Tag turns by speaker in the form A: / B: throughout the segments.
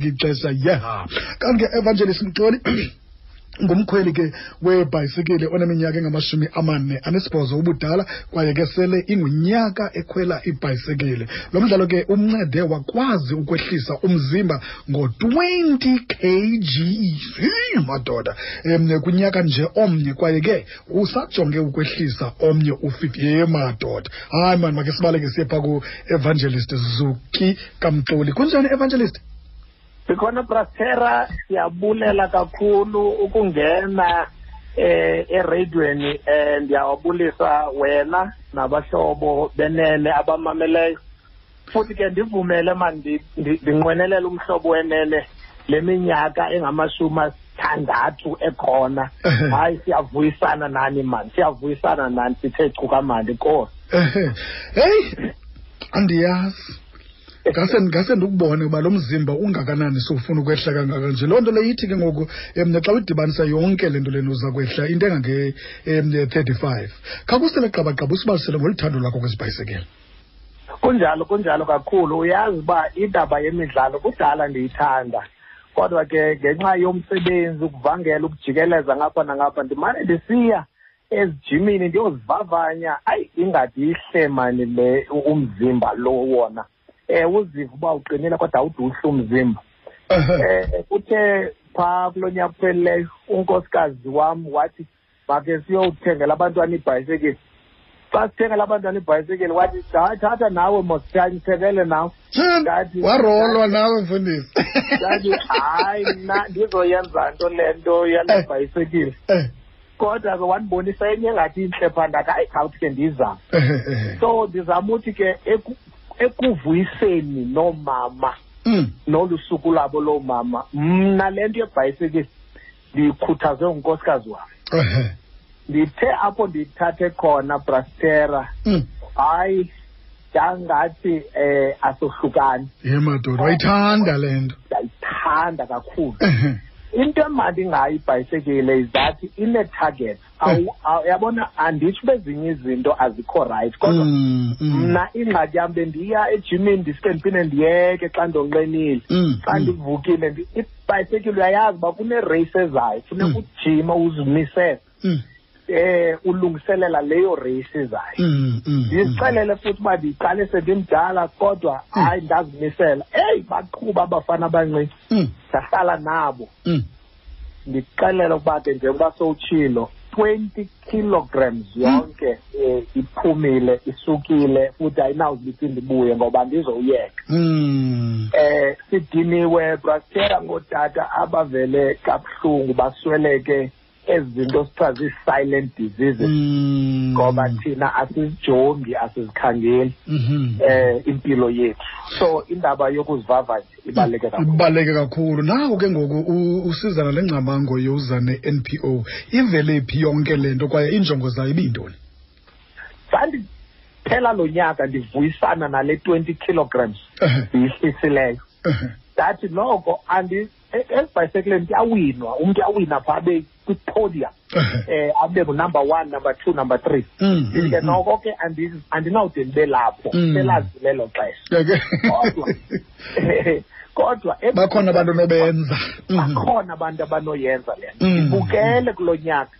A: ngixesha yeha kanti ke evangelist mxoli ngumkhweli ke webhayisikile oneminyaka engamashumi amane anesibhozo ubudala kwaye ke sele ingunyaka ekhwela ibhayisikile lo mdlalo ke umncede wakwazi ukwehlisa umzimba ngo-20 kgs madoda um kunyaka nje omnye kwaye ke usajonge ukwehlisa omnye u-50 ye madoda hayi mani makhe sibaleke siye phaa ku-evangelist zuki kamxoli kunjani evangelist
B: sikhona brasera siyabulela kakhulu ukungena eh eradweni eh ndiyawabulisa wena nabahlobo benene abamameleyo futhi ke ndivumele manje ndinqwenelela umhlobo wenene leminyaka engamashumi asithandathu ekhona hayi siyavuyisana nani mani siyavuyisana nani sithe cuka mandi kosi
A: heyi Eh, andiyazi ngase ngase ndikubone uba lo mzimba ungakanani sowufuna ukwehla kangaka nje loo nto le ithi ke ngoku um xa udibanisa yonke le nto lena uza kwehla into engange-thirty five khakusele qabaqaba usibalisele ngoluthando lwakho kwezibhayisekele
B: kunjalo kunjalo kakhulu uyazi uba indaba yemidlalo kudala ndiyithanda kodwa ke ngenxa yomsebenzi ukuvangela ukujikeleza ngapha nangapha ndimane ndisiya ezijimini ndiyozivavanya ayi ingadi yihle mani le umzimba lo wona eh uzive uba uqinile kodwa awuduhle umzimba eh kuthe pha kulo nyaka upheleleyo unkosikazi wam wathi make siyowuthengela abantwana ibhayisekile xa sithengela abantwana ibhayisekile wathi "Hayi, thatha nawe mosithanyisekele nawe Ndathi-
A: warolwa nawe mfundisi
B: ndathi hayi mna ndizoyenza nto le nto yale
A: Eh.
B: bhayisekile
A: Eh,
B: kodwa ke wandibonisa enye engathi intle phaa ndathi hayi khawuthi ke ndiyizama
A: eh, eh, eh.
B: so ndizama uthi ke eku- ekuvuyiseni noomama
A: Mm.
B: nolu suku labo loomama mna le nto yebhayisikile ndiyikhuthazwe ngunkosikazi wam
A: Eh,
B: ndithe apho ndiyithathe khona brastera
A: mm.
B: hayi ndangathi eh asohlukani
A: ye madoda wayithanda le nto
B: ndiyayithanda kakhulu
A: Eh, eh.
B: into emandi ngayo ibhayisekile izathi ine-target Awu- awu- yabona anditsho uba ezinye izinto azikho right kodwa
A: Mm, mm.
B: mna ingxaki yam bendiya ejimini ndisuke ndiphinde ndiyeke xa ndonqenile
A: Mm,
B: xa
A: mm.
B: ndivukile ndi- ibhayisekile uyayazi uba kunereyisi ezayo funeka
A: Mm.
B: ujime uzimisele
A: Mm,
B: eh ulungiselela leyo reyisi ezayo
A: mm, mm, mm.
B: ndizixelele futhi uba ndiyiqale sendimdala kodwa
A: Mm.
B: hayi ndazimisela eyi baqhuba abafana abancinci
A: Mm,
B: ndahlala nabo
A: mm.
B: ndixelela ukuba ke njengoba sowutshilo 20 kilograms
A: Mm.
B: yonke eh, iphumile isukile futhi ayinawuzibiphinde ibuye ngoba ndizoyeka
A: Mm.
B: eh sidiniwe brastera ngootata abavele kabuhlungu basweleke ezi zinto sithiwa zii-silent diseases
A: Mm.
B: ngoba thina asizijongi asizikhangeli
A: Mhm.
B: eh impilo yethu so indaba yokuzivavanya ibaluleke kakhulu
A: ibaluleke kakhulu nawo ke ngoku u- usizana lengcamango yoza ne-npo ivele phi yonke le nto kwaye iinjongo zayo ibiyintoni
B: sandiphela lo nyaka ndivuyisana nale 20 kilograms
A: Ehe,
B: ndiyihlisileyo
A: ehe.
B: ndathi noko andi e- esibhayisekileni kuyawinwa umntu uyawina phaa abe kwipodium
A: Ehe.
B: eh abe ngunumber one number two number three
A: Mm, mm,
B: ke
A: mm.
B: noko ke andi- andinawude ndibe lapho
A: Mm.
B: selazi lelo xesha
A: Ya ke.
B: Kodwa. kodwa e-
A: bakhona abantu Mm, Mm-hmm. nobenza
B: bakhona abantu abanoyenza le nto
A: Mm.
B: ndibukele kulo nyaka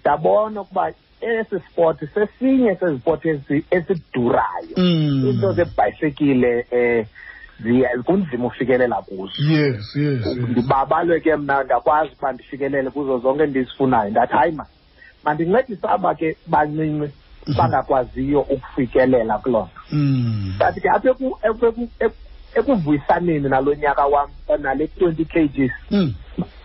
B: ndabona ukuba esi sport sesinye sezipoti ezi- esidurayo
A: Mm-hmm. mm.
B: into zebhayisekile um ziya- kunzima ufikelela kuzo
A: yes yes yes.
B: ndibabalwe ke mna ndakwazi ukuba ndifikelele kuzo zonke ndizifunayo ndathi hayi ma mandincedisa aba ke bancinci
A: Mhm.
B: bangakwaziyo ukufikelela kuloo nto
A: Mm.
B: ndathi ke apha eku- eku- eku- ekuvuyisaneni nalo nyaka wam nale twenty kgs
A: Mm.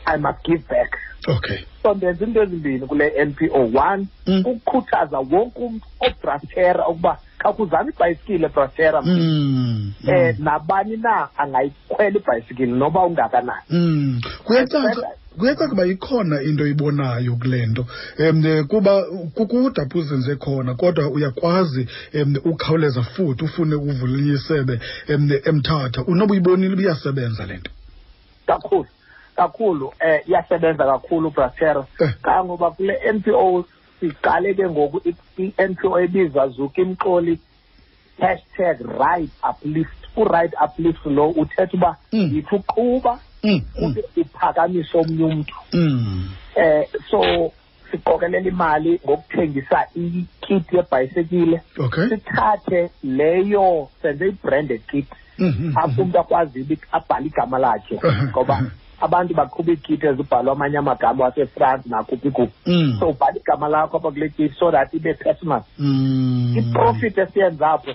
B: i must give back
A: okay
B: so ndenza into ezimbini kule npo one
A: Mm.
B: ukukhuthaza wonke umntu obrastera ukuba khawukuzama ibhayisikile brastera um
A: Mm. Mm.
B: nabani na angayikhwela ibhayisikile noba ungakanani
A: Mm. kuyacaca kuyacaca uba ikhona into ibonayo kule nto um kuba kukude apho uzenze khona kodwa uyakwazi um ukhawuleza futhi ufune uvulele isebe um emthatha unoba uyibonile uba iyasebenza le nto
B: kakhulu kakhulu eh iyasebenza kakhulu brastera
A: Eh.
B: kangoba kule npo siqale ke ngoku i- i-npo ebizwa zuka imxoli hashtag right uplift uright uplift lo uthetha uba
A: Mm.
B: yithi uquba
A: Mm, mm,
B: uthi uphakamise omnye umntu
A: mm.
B: um so siqokelela imali ngokuthengisa ikiti yebhayisekile
A: okay
B: sithathe leyo senze i-branded kit
A: Mm, mm, mm.
B: apho umntu akwaziyo uba abhale igama lakhe ngoba abantu baqhuba iikiti ezibhalwa amanye amagama wasefrance nakuphi kuphi
A: Mm,
B: so ubhala igama lakho apha kule kiti so that ibe personal
A: mm.
B: iprofit esiyenza apho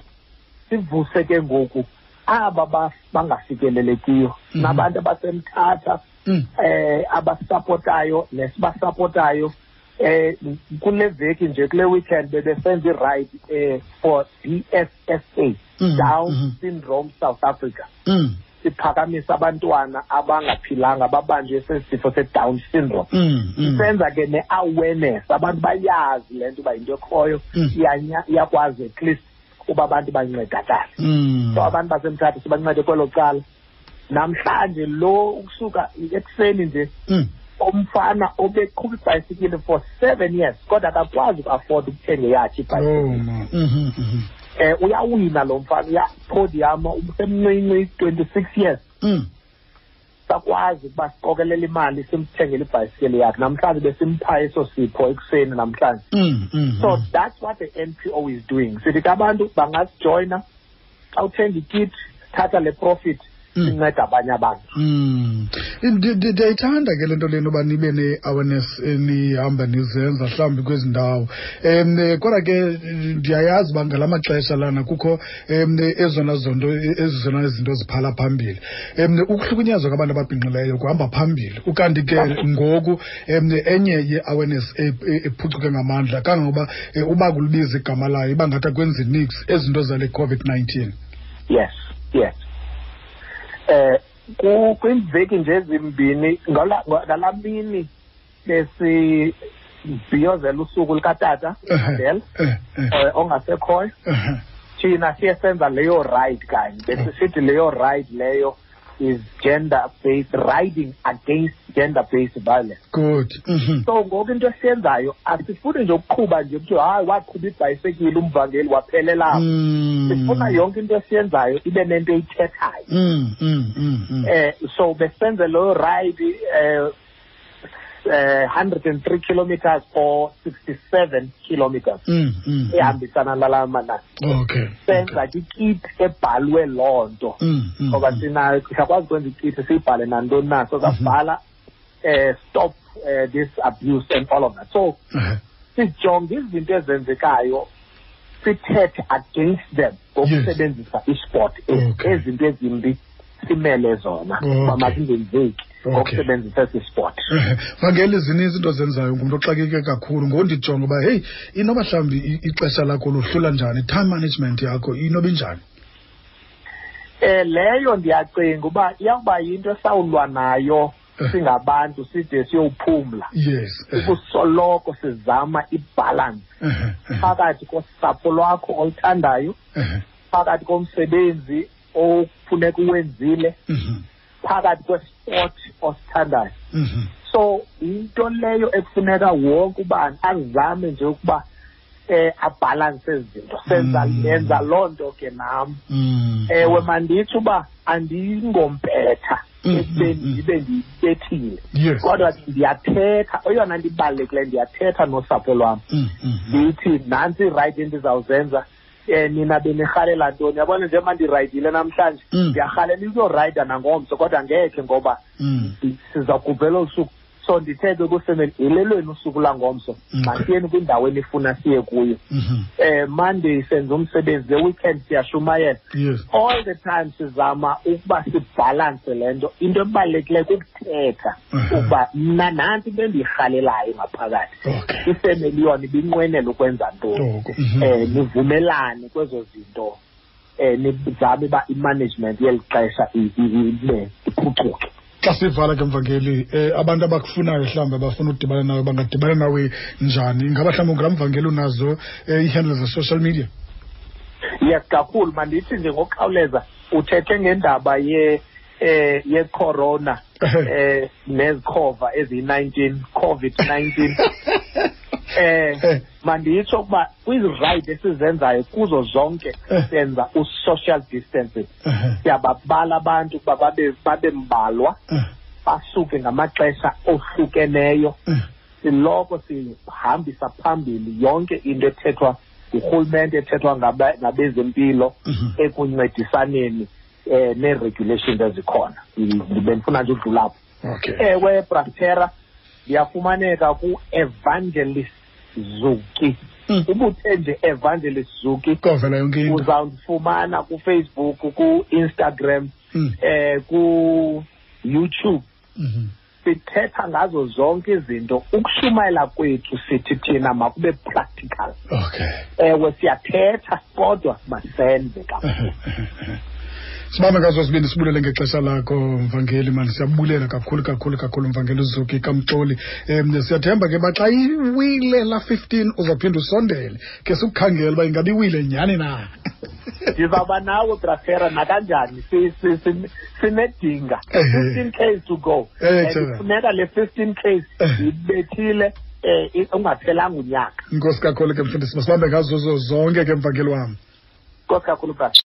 B: sivuse ke ngoku aba ba- bangafikelelekiyo
A: Mhm.
B: nabantu abasemthatha
A: Mm,
B: eh abasapotayo nesibasapotayo eh kule veki nje kule weekend bebesenza iride eh for DSSA
A: Mhm,
B: Down
A: mhm.
B: Syndrome South Africa
A: mm,
B: siphakamisa abantwana abangaphilanga babanjwe sesifo se-down syndrome
A: mm, mm.
B: senza ke ne-awareness abantu bayazi le nto uba yinto ekhoyo
A: Mm.
B: iyanya- iyakwazi at least uba abantu bancedakale
A: Mm.
B: so abantu basemthatha sibancede kwelo cala namhlanje lo ukusuka ekuseni nje
A: Mm,
B: omfana obeqhuba ibhayisikile for seven years kodwa akakwazi ukuafoda ukuthenga yakhe ibhayisikile
A: oh, ma. Mhm, mhm.
B: um uyawina lo mfana uyapodiyama usemncinci twenty-six years
A: Mm,
B: sakwazi ukuba siqokelela imali simthengele ibhayisikile yakhe namhlanje besimpha eso sipho ekuseni namhlanje
A: mm, mm,
B: so
A: mm.
B: that's what the npo is doing sithi ke abantu bangasijoyina xa uthenga ikit thatha le profit
A: Mm.
B: inceda abanye abantu
A: Mm. Ndi- ndi- ndiyayithanda ke le nto lena uba nibe ne-awareness enihamba nizenza mhlawumbi kwezi ndawo um kodwa ke ndiyayazi uba ngala maxesha lana kukho um ezona zonto ezizona zinto ziphala phambili um ukuhlukunyezwa kwabantu ababhinqileyo kuhamba phambili ukanti ke ngoku um enye ye-awareness e- e- ephucuke ngamandla kangangoba eh, uba kulibiza igama layo iba ngathi akwenzi nix ezinto zale covid-19
B: yes yes eh ku- kwimveki nje ezimbini ngala- ngo- ngalaa mini besibhiyozela usuku likatata Mandela
A: Eh, eh,
B: eh, ongasekhoyo
A: eh.
B: thina siye senza leyo ride kanye
A: Mm.
B: besisithi leyo ride leyo is gender based riding against gender based violence
A: good Mhm.
B: so ngoku into esiyenzayo asifuni nje ukuqhuba nje kuthiwa hayi waqhuba ibhayisekile umvangeli waphelela apho."
A: Mm.
B: sifuna yonke into esiyenzayo ibe nento eyithethayo
A: Mm, mm, mm, mm.
B: eh so besenze leyo ride eh eh 103 kilometers or 67 kilometers
A: Mm, mm, mm. Oh,
B: ehambisana nalaa manani
A: Okay.
B: senza ke ikiti ebhalwe loo nto
A: Mm, mm,
B: ngoba
A: mm.
B: sina siyakwazi ukwenza ikiti siyibhale nantoni na so
A: Mm-hmm.
B: sabhala eh stop eh, this abuse and all of that so
A: Eh,
B: sijonge izinto ezenzekayo sithethe against them ngokusebenzisa isport e-
A: Okay.
B: ezinto ezimbi simele zona
A: Okay.
B: uba mazingenzeki
A: Okay.
B: ngokusebenzisa esi sport
A: eh, vangeli zininzi into ozenzayo ngumntu oxakeke kakhulu ngoku ndijonga uba heyi inoba mhlawumbi i- ixesha lakho luhlula njani i-time management yakho inoba injani
B: um leyo ndiyacinga uba iyawuba yinto esawulwa nayo
A: Eh.
B: singabantu side siyowuphumla
A: yes eh,
B: ukusoloko sizama ibhalansi
A: eh, eh,
B: phakathi kosapho lwakho oluthandayo
A: eh,
B: phakathi komsebenzi ofuneka uwenzile
A: mhm,
B: phakathi kwesport osithandayo
A: mhm.
B: so into leyo ekufuneka wonke ubani azame nje ukuba eh abhalanse ezi zinto senza
A: Mm.
B: yenza loo nto ke nam
A: Mm,
B: ewe mandithi uba andingompetha
A: Mm,
B: ekubeni
A: mm, mm.
B: ndibe ndiyibethile
A: yes
B: kodwa ke ndiyathetha eyona nto ibalulekileyo ndiyathetha nosapho lwam
A: Mm, mm, mm.
B: ndithi nantsi irayithi endizawuzenza um nina benirhalela ntoni yabona nje mandirayidile namhlanje
A: Mm.
B: ndiyarhalela izorayida nangomso kodwa ngekhe ngoba
A: Mm,
B: sizakuvela usuku so ndithethe kusefemeli yilelweni usuku langomso
A: Mm.
B: masiyeni kwindaweni ifuna siye kuyo
A: mhm.
B: um monday senze umsebenzi the weekend siyashumayela
A: yes
B: all the time sizama ukuba sibhalanse le nto into ebalulekileyo kukuthetha
A: Mhm.
B: ukuba mna nantsi into endirhalelayo ngaphakathi
A: okay
B: ifemeli yona ibinqwenela ukwenza ntoni
A: Oko,
B: um
A: mhm.
B: nivumelane kwezo zinto um nizame uba imanagement yeli xesha i- i- ibe iphucuke
A: xa sivala ke mvangeli eh, abantu abakufunayo mhlawumbi abafuna udibana nawe bangadibana nawe njani ingaba mhlawumbi ungulaa mvangeli unazo eh, iihandle ze-social media
B: yes kakhulu mandithi nje ngokukhawuleza uthethe ngendaba ye eh yecorona eh nezikhova eziyi-19 covid-19
A: Eh.
B: eh manditsho ukuba kwizirayidi esizenzayo kuzo zonke
A: Eh.
B: senza u-social distancing
A: Ehhe,
B: siyababala abantu ukuba babe babe mbalwa
A: eh,
B: basuke ngamaxesha ohlukeneyo
A: eh.
B: siloko sihambisa phambili yonke into ethethwa ngurhulumente ethethwa ngabe- ngabezempilo
A: Mhm.
B: ekuncedisaneni um nee-regulations ezikhona Mm, bendifuna nje udlula apho
A: okay
B: ewe brastera ndiyafumaneka ku-evangelist zuki
A: Mm.
B: ubuthe nje evangelist zuki
A: kovela yonke into
B: uzawundifumana kufacebook ku-instagram
A: Mm,
B: eh ku-youtube
A: mhm.
B: sithetha ngazo zonke izinto ukushumayela kwethu sithi thina makube practical
A: okay
B: ewe siyathetha kodwa masenze kakhulu
A: Ehhe, ehhe, ehhe. sibambe ngazo sibini sibulele ngexesha lakho mvangeli mani siyabulela kakhulu kakhulu kakhulu mvangeli uzuki kamxoli um siyathemba ke uba xa iwile la-fifteen uzawuphinda usondele ke sikukhangela uba ingabi iwile nyhani na
B: ndizawuba nawe brasera nakanjani Si- si- si- sinedinga
A: Ehhe.
B: fifteen ks to go
A: Eh,
B: And
A: Themba.
B: funeka le fifteen ks
A: Eh.
B: ibethile um ungaphelanga unyaka
A: inkosi kakhulu ke mfundisi masibambe ngazo zonke ke mvangeli wam
B: nkosi kakhulu brasera